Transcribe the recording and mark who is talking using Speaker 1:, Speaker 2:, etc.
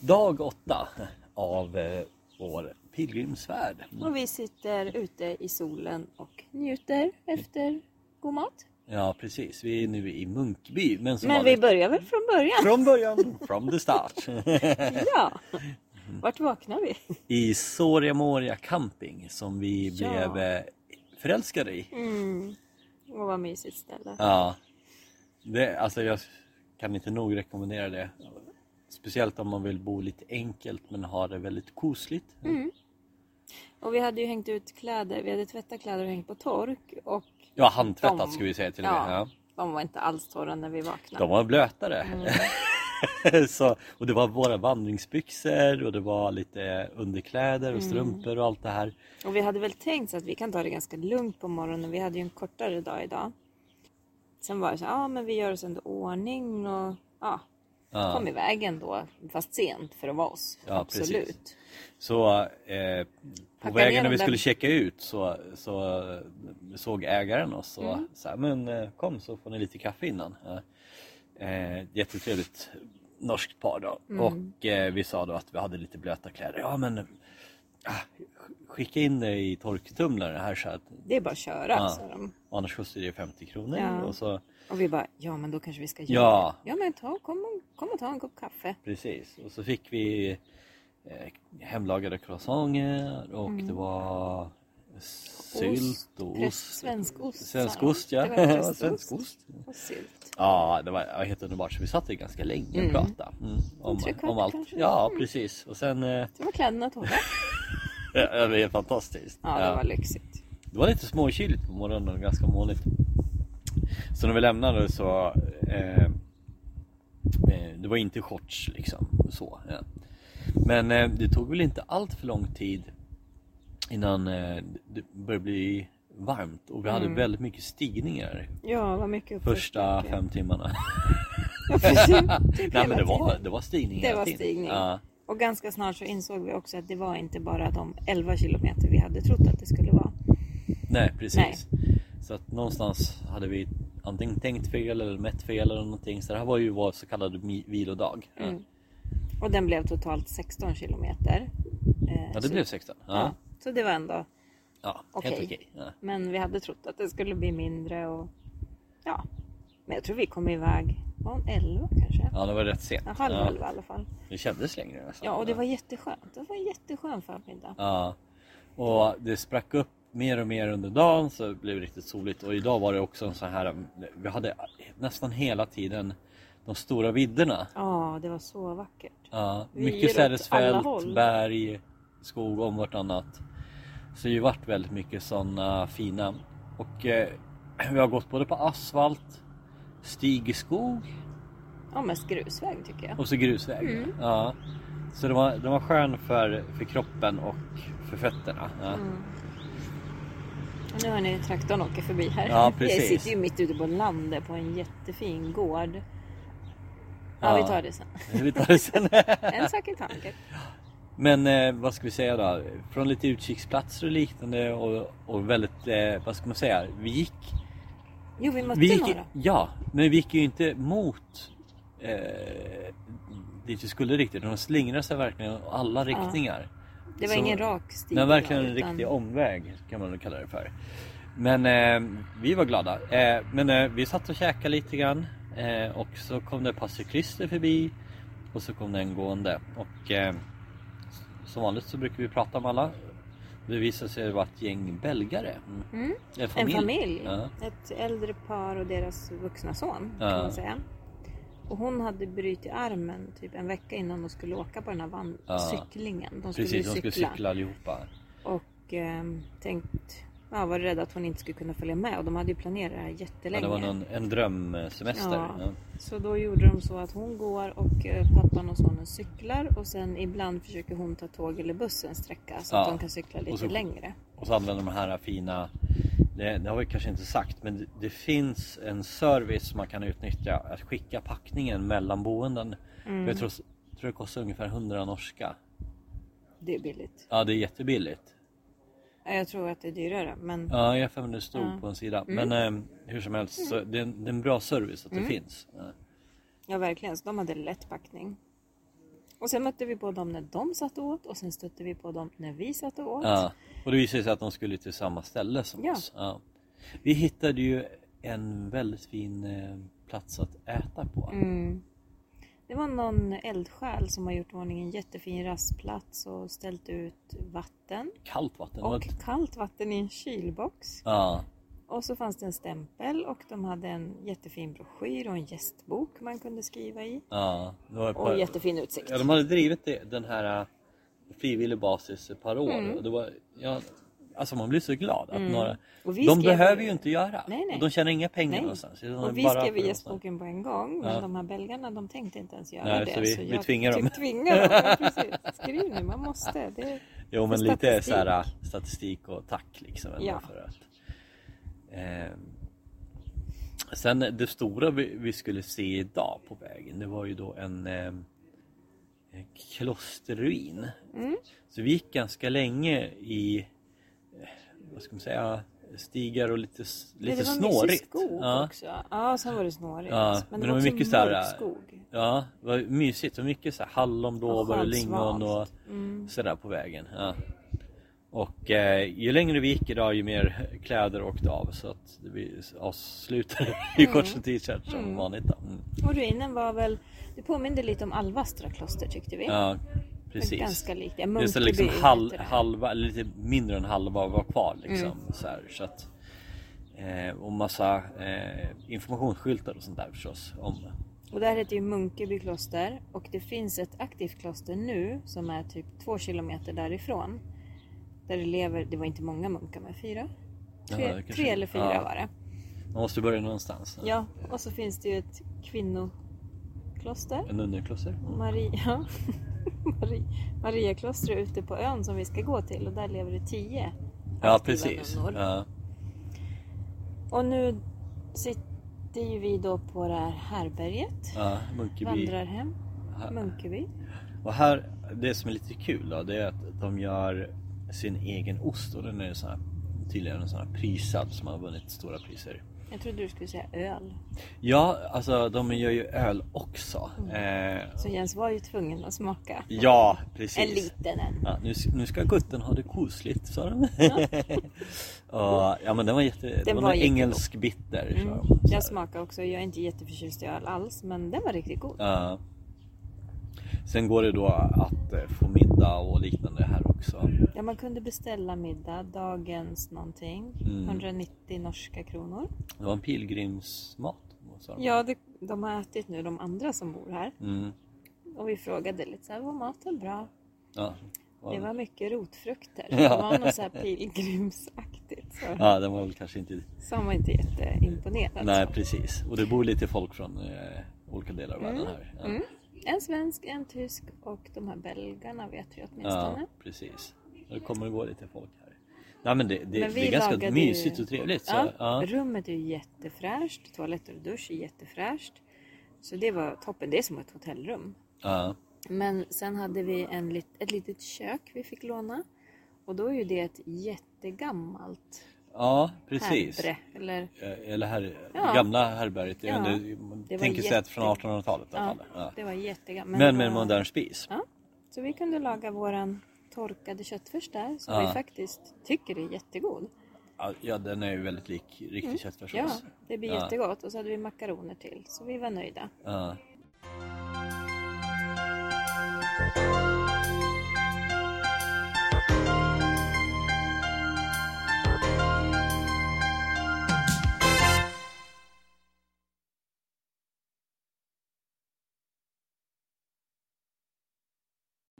Speaker 1: Dag åtta av eh, vår pilgrimsfärd.
Speaker 2: Och vi sitter ute i solen och njuter efter god mat.
Speaker 1: Ja precis, vi är nu i Munkby. Men, som
Speaker 2: Men vi
Speaker 1: vanligt-
Speaker 2: börjar väl från början?
Speaker 1: Från början, from the start. Mm.
Speaker 2: Ja! Vart vaknar vi?
Speaker 1: I Soria Moria camping som vi
Speaker 2: Ja.
Speaker 1: blev eh, förälskade i.
Speaker 2: Mm. Och vad mysigt ställe.
Speaker 1: Ja. Det, alltså jag kan inte nog rekommendera det. Speciellt om man vill bo lite enkelt men ha det väldigt kosligt.
Speaker 2: Mm. Och vi hade ju hängt ut kläder, vi hade tvättat kläder och hängt på tork och
Speaker 1: Ja, handtvättat
Speaker 2: De-
Speaker 1: ska vi säga till och
Speaker 2: ja,
Speaker 1: med. Ja.
Speaker 2: de var inte alls torra när vi vaknade.
Speaker 1: De var blötare.
Speaker 2: Mm.
Speaker 1: så, och det var våra vandringsbyxor och det var lite underkläder
Speaker 2: Mm.
Speaker 1: och strumpor och allt det här.
Speaker 2: Och vi hade väl tänkt så att vi kan ta det ganska lugnt på morgonen, vi hade ju en kortare dag idag. Sen var det så, ja ah, men vi gör oss ändå ordning och ja,
Speaker 1: Ja.
Speaker 2: kom iväg ändå, fast sent för att vara oss.
Speaker 1: Ja, precis.
Speaker 2: Absolut.
Speaker 1: Så eh, på
Speaker 2: Packa ner
Speaker 1: vägen när vi
Speaker 2: dem där.
Speaker 1: skulle checka ut så, så eh, såg ägaren oss och
Speaker 2: Mm.
Speaker 1: sa men eh, kom så får ni lite kaffe innan. Ja. Eh, jättetrevligt norskt par då.
Speaker 2: Mm.
Speaker 1: Och eh, vi sa då att vi hade lite blöta kläder. Ja men ah, skicka in det i torktumlaren här så att
Speaker 2: Det är bara att köra.
Speaker 1: Ja.
Speaker 2: sa de.
Speaker 1: annars kostar det 50 kronor.
Speaker 2: Ja.
Speaker 1: Och så,
Speaker 2: Och vi bara, ja men då kanske vi ska göra
Speaker 1: Ja.
Speaker 2: det. Ja men ta, kom, och, kom och ta en kopp kaffe.
Speaker 1: Precis, och så fick vi eh, hemlagade croissanter och
Speaker 2: Mm.
Speaker 1: det var sylt och
Speaker 2: press-
Speaker 1: ost.
Speaker 2: Svenskost. sa
Speaker 1: Svensk
Speaker 2: de.
Speaker 1: ost ja.
Speaker 2: Det var
Speaker 1: ja
Speaker 2: prästost
Speaker 1: svenskost.
Speaker 2: Och sylt.
Speaker 1: Ja, det var det var helt underbart. Så vi satt där ganska länge och
Speaker 2: Mm.
Speaker 1: pratade. Mm, om,
Speaker 2: tre kvart
Speaker 1: om allt.
Speaker 2: kanske. Mm.
Speaker 1: Ja, precis. Och sen... Eh,
Speaker 2: Sen var kläderna torra.
Speaker 1: det var helt fantastiskt.
Speaker 2: Ja,
Speaker 1: Ja.
Speaker 2: det var lyxigt.
Speaker 1: Det var lite småkyligt på morgonen och ganska molnigt. Så när vi lämnade så... Eh, eh, det var inte shorts liksom. Så, ja. Men eh, det tog väl inte allt för lång tid innan eh, det började bli varmt och vi hade väldigt mycket stigningar
Speaker 2: Ja, var Mm. mycket uppförsbacke.
Speaker 1: första fem timmarna.
Speaker 2: Ja, precis. Typ
Speaker 1: Nej men det
Speaker 2: hela
Speaker 1: var,
Speaker 2: tiden.
Speaker 1: det var stigning
Speaker 2: Det
Speaker 1: hela
Speaker 2: var
Speaker 1: tiden.
Speaker 2: stigning.
Speaker 1: Ja,
Speaker 2: Och ganska snart så insåg vi också att det var inte bara de 11 kilometer vi hade trott att det skulle vara.
Speaker 1: nej precis. Så att någonstans hade vi antingen tänkt fel eller mätt fel eller någonting. Så det här var ju vår så kallade mi- vilodag. Ja.
Speaker 2: Mm. Och den blev totalt 16 kilometer. Eh,
Speaker 1: Ja det
Speaker 2: så-
Speaker 1: blev 16.
Speaker 2: ja.
Speaker 1: Ja,
Speaker 2: Så det var ändå
Speaker 1: ja.
Speaker 2: Okej.
Speaker 1: helt okej. Ja.
Speaker 2: Men vi hade trott att det skulle bli mindre och ja. Men jag tror vi kom iväg, var hon 11 kanske?
Speaker 1: ja det var rätt sent.
Speaker 2: Ja, halv
Speaker 1: Ja,
Speaker 2: 11 i alla fall.
Speaker 1: Det kändes längre nästan.
Speaker 2: Ja och det var jätteskönt. Det var en jätteskön förmiddag.
Speaker 1: Ja. Och det sprack upp mer och mer under dagen så det blev riktigt soligt och idag var det också en sån här Vi hade nästan hela tiden de stora vidderna.
Speaker 2: Ja det var så vackert.
Speaker 1: Ja,
Speaker 2: Vyer
Speaker 1: mycket
Speaker 2: åt alla
Speaker 1: sädesfält,
Speaker 2: håll.
Speaker 1: berg, skog om vartannat. Så det har ju varit väldigt mycket sådana fina. Och eh, vi har gått både på asfalt, stig i skog
Speaker 2: Ja mest grusväg tycker jag.
Speaker 1: och så grusväg.
Speaker 2: Mm.
Speaker 1: Ja. Så det var, det var skön för, för kroppen och för fötterna. Ja.
Speaker 2: Mm. Och nu hör ni hur traktorn åker förbi här.
Speaker 1: Ja,
Speaker 2: Jag
Speaker 1: precis.
Speaker 2: sitter ju mitt ute på landet på en jättefin gård. Ja,
Speaker 1: Ja.
Speaker 2: vi tar det sen.
Speaker 1: Vi tar det sen.
Speaker 2: En sak i taget.
Speaker 1: Men eh, vad ska vi säga då? Från lite utkiksplatser och liknande och, och väldigt, eh, vad ska man säga? Vi gick
Speaker 2: Jo vi mötte
Speaker 1: Vi gick,
Speaker 2: några.
Speaker 1: ja, men vi gick ju inte mot eh, dit vi skulle riktigt. De slingrade sig verkligen i alla riktningar.
Speaker 2: Det var
Speaker 1: Så-
Speaker 2: ingen rak stig.
Speaker 1: Nej, verkligen en
Speaker 2: idag, utan-
Speaker 1: riktig omväg kan man väl kalla det för. Men eh, vi var glada. Eh, men eh, vi satt och käkade lite grann eh, och så kom det ett par cyklister förbi och så kom det en gående. Och eh, som vanligt så brukar vi prata med alla. Det visade sig vara ett gäng belgare. Mm.
Speaker 2: Mm.
Speaker 1: En
Speaker 2: En
Speaker 1: familj.
Speaker 2: familj.
Speaker 1: Ja.
Speaker 2: Ett äldre par och deras vuxna son
Speaker 1: Ja.
Speaker 2: kan man säga. Och hon hade brutit armen typ en vecka innan de skulle åka på den här van-
Speaker 1: Ja.
Speaker 2: cyklingen. De skulle
Speaker 1: Precis, de
Speaker 2: cykla.
Speaker 1: skulle cykla allihopa.
Speaker 2: Och ehm, tänkt, ja, var rädda att hon inte skulle kunna följa med. Och de hade ju planerat det här
Speaker 1: Ja,
Speaker 2: jättelänge.
Speaker 1: det var någon, en drömsemester.
Speaker 2: Ja.
Speaker 1: Ja.
Speaker 2: Så då gjorde de så att hon går och eh, pappan och sonen cyklar. Och sen ibland försöker hon ta tåg eller buss en sträcka. Så att
Speaker 1: Ja.
Speaker 2: de kan cykla lite
Speaker 1: Och så-
Speaker 2: längre.
Speaker 1: Och så använder de här fina, det, det har vi kanske inte sagt, men det, det finns en service man kan utnyttja att skicka packningen mellan boenden.
Speaker 2: Mm.
Speaker 1: Jag tror, tror det kostar ungefär 100 norska.
Speaker 2: Det är billigt.
Speaker 1: Ja, det är jättebilligt.
Speaker 2: Ja, Jag tror att det är dyrare. Men
Speaker 1: Ja, jag har för mig det stod
Speaker 2: Mm.
Speaker 1: på en sida. Men eh, hur som helst, så det, är en, det
Speaker 2: Mm.
Speaker 1: är en bra service att det finns. Ja.
Speaker 2: Ja verkligen, så de hade lätt packning. Och sen mötte vi på dem när de satt och åt och sen stötte vi på dem när vi satt och åt.
Speaker 1: Ja. Och det visade sig att de skulle till samma ställe som
Speaker 2: Ja.
Speaker 1: oss. Ja. Vi hittade ju en väldigt fin eh, plats att äta på.
Speaker 2: Mm. Det var någon eldsjäl som har gjort i ordning en jättefin rastplats och ställt ut vatten
Speaker 1: Kallt vatten.
Speaker 2: och
Speaker 1: Och...
Speaker 2: kallt vatten i en kylbox.
Speaker 1: Ja.
Speaker 2: Och så fanns det en stämpel och de hade en jättefin broschyr och en gästbok man kunde skriva i.
Speaker 1: ja. Det var ett
Speaker 2: Och
Speaker 1: par-
Speaker 2: jättefin utsikt.
Speaker 1: Ja, de hade drivit det, den här eh, frivillig basis ett par år.
Speaker 2: Mm.
Speaker 1: Och det var, ja, alltså man blir så glad att några...
Speaker 2: Och vi
Speaker 1: De
Speaker 2: skrev-
Speaker 1: behöver ju inte göra.
Speaker 2: Nej, nej.
Speaker 1: Och de tjänar inga pengar
Speaker 2: Nej.
Speaker 1: någonstans. De är
Speaker 2: Och vi
Speaker 1: bara
Speaker 2: skrev i
Speaker 1: för
Speaker 2: gästboken på en gång men
Speaker 1: Ja.
Speaker 2: de här belgarna de tänkte inte ens göra
Speaker 1: Nej,
Speaker 2: det.
Speaker 1: så vi- vi
Speaker 2: jag
Speaker 1: tvingar dem.
Speaker 2: typ Tvingar dem. Ja, precis. Skriv nu, man måste. Det...
Speaker 1: Jo men
Speaker 2: För
Speaker 1: lite
Speaker 2: statistik.
Speaker 1: så här, eh, statistik och tack liksom. ändå
Speaker 2: Ja.
Speaker 1: För att, ehm. Sen det stora vi, vi skulle se idag på vägen det var ju då en, ehm, en klosterruin.
Speaker 2: Mm.
Speaker 1: Så vi gick ganska länge i eh, vad ska man säga, stigar och lite, s-
Speaker 2: Ja,
Speaker 1: lite
Speaker 2: det var
Speaker 1: snårigt.
Speaker 2: Mycket skog
Speaker 1: Ja.
Speaker 2: också. Ja, sen var det snårigt.
Speaker 1: Ja,
Speaker 2: men
Speaker 1: men
Speaker 2: det
Speaker 1: det
Speaker 2: var
Speaker 1: var
Speaker 2: också
Speaker 1: mycket så här- äh,
Speaker 2: mörk skog.
Speaker 1: Ja, det var mysigt. Och mycket så här hallon, blåbär och
Speaker 2: skönt
Speaker 1: lingon och
Speaker 2: svalt. Mm.
Speaker 1: sådär på vägen. Ja. Och eh, ju längre vi gick idag ju mer kläder åkte av så att vi avslutade i
Speaker 2: Mm.
Speaker 1: shorts och t-shirt som vanligt. Då. Mm.
Speaker 2: Och ruinen var väl, det påminde lite om Alvastra kloster tyckte vi.
Speaker 1: Ja,
Speaker 2: Det
Speaker 1: precis.
Speaker 2: var Ganska likt. Ja,
Speaker 1: Det är så
Speaker 2: Munkeby
Speaker 1: liksom
Speaker 2: heter
Speaker 1: hal,
Speaker 2: det. Mm.
Speaker 1: halva, eller lite mindre än halva var kvar liksom. Så här, så att, eh, och massa eh, informationsskyltar och sånt där förstås. Om,
Speaker 2: Och där heter ju Munkeby kloster och det finns ett aktivt kloster nu som är typ två kilometer därifrån. Där det lever, det var inte många munkar men fyra?
Speaker 1: Ja,
Speaker 2: Tre,
Speaker 1: det kanske-
Speaker 2: tre eller fyra
Speaker 1: ja.
Speaker 2: var det.
Speaker 1: man måste börja någonstans.
Speaker 2: Ja, och så finns det ju ett kvinnokloster.
Speaker 1: En underkloster. Mm.
Speaker 2: Maria, Maria, Maria kloster ute på ön som vi ska gå till och där lever det tio
Speaker 1: Ja
Speaker 2: aktiva
Speaker 1: precis.
Speaker 2: nunnor.
Speaker 1: Ja.
Speaker 2: Och nu sitter ju vi då på det här härberget.
Speaker 1: Ja, Munkeby.
Speaker 2: Vandrar hem, Munkeby.
Speaker 1: Och här, det som är lite kul då, det är att de gör sin egen ost och den är sån här, tydligen en sån här prisad som har vunnit stora priser.
Speaker 2: Jag trodde du skulle säga öl.
Speaker 1: Ja, alltså de gör ju öl också.
Speaker 2: Mm.
Speaker 1: Eh,
Speaker 2: Så Jens var ju tvungen att smaka.
Speaker 1: ja,
Speaker 2: En
Speaker 1: precis.
Speaker 2: liten en.
Speaker 1: Ja, nu, nu ska gutten ha det kosligt, sa de. Ja, ja men den var jätte... Den det var,
Speaker 2: var
Speaker 1: var
Speaker 2: jättegod.
Speaker 1: engelsk bitter, sa
Speaker 2: Mm.
Speaker 1: de. Så här.
Speaker 2: Jag smakade också, jag är inte jätteförtjust i öl alls men den var riktigt god.
Speaker 1: Ja. Sen går det då att eh, få middag och liknande här också.
Speaker 2: Ja, man kunde beställa middag, dagens någonting,
Speaker 1: Mm.
Speaker 2: 190 norska kronor.
Speaker 1: Det var en pilgrimsmat. sa de.
Speaker 2: Ja, det, de har ätit nu de andra som bor här
Speaker 1: Mm.
Speaker 2: och vi frågade lite så här, var maten bra?
Speaker 1: Ja.
Speaker 2: Det var mycket rotfrukter.
Speaker 1: Ja.
Speaker 2: Det var något så här pilgrimsaktigt. Så.
Speaker 1: Ja, den var väl kanske inte...
Speaker 2: Så han var inte jätteimponerad.
Speaker 1: Nej, precis. Och det bor lite folk från eh, olika delar av världen här. Ja,
Speaker 2: Mm. En svensk, en tysk och de här belgarna vet vi åtminstone.
Speaker 1: ja precis. Och Det kommer att gå lite folk här. Nej, men det, det,
Speaker 2: Men vi
Speaker 1: det är ganska
Speaker 2: lagade ju-
Speaker 1: mysigt och trevligt. Så,
Speaker 2: Ja,
Speaker 1: ja.
Speaker 2: Rummet är ju jättefräscht, toaletter och dusch är jättefräscht. Så det var toppen, det är som ett hotellrum.
Speaker 1: Ja.
Speaker 2: Men sen hade vi en, lit- ett litet kök vi fick låna. Och då är ju det ett jättegammalt
Speaker 1: ja, precis.
Speaker 2: härbre. Eller,
Speaker 1: Eh, Eller här,
Speaker 2: Ja.
Speaker 1: gamla härberget. Det är
Speaker 2: Ja.
Speaker 1: under- Man
Speaker 2: Det var
Speaker 1: tänker sig att från
Speaker 2: jätte-
Speaker 1: 1800-talet i alla
Speaker 2: ja,
Speaker 1: fall. Ja.
Speaker 2: det var jättegammalt.
Speaker 1: Men med
Speaker 2: det
Speaker 1: en
Speaker 2: var-
Speaker 1: modern spis.
Speaker 2: Ja, så vi kunde laga våran torkade köttfärs där som
Speaker 1: Ja.
Speaker 2: vi faktiskt tycker är jättegod.
Speaker 1: Ja, Ja, den är ju
Speaker 2: Mm.
Speaker 1: väldigt lik riktig köttfärssås.
Speaker 2: Ja, det blir jättegott. Och så hade vi makaroner till, så vi var nöjda.
Speaker 1: Ja.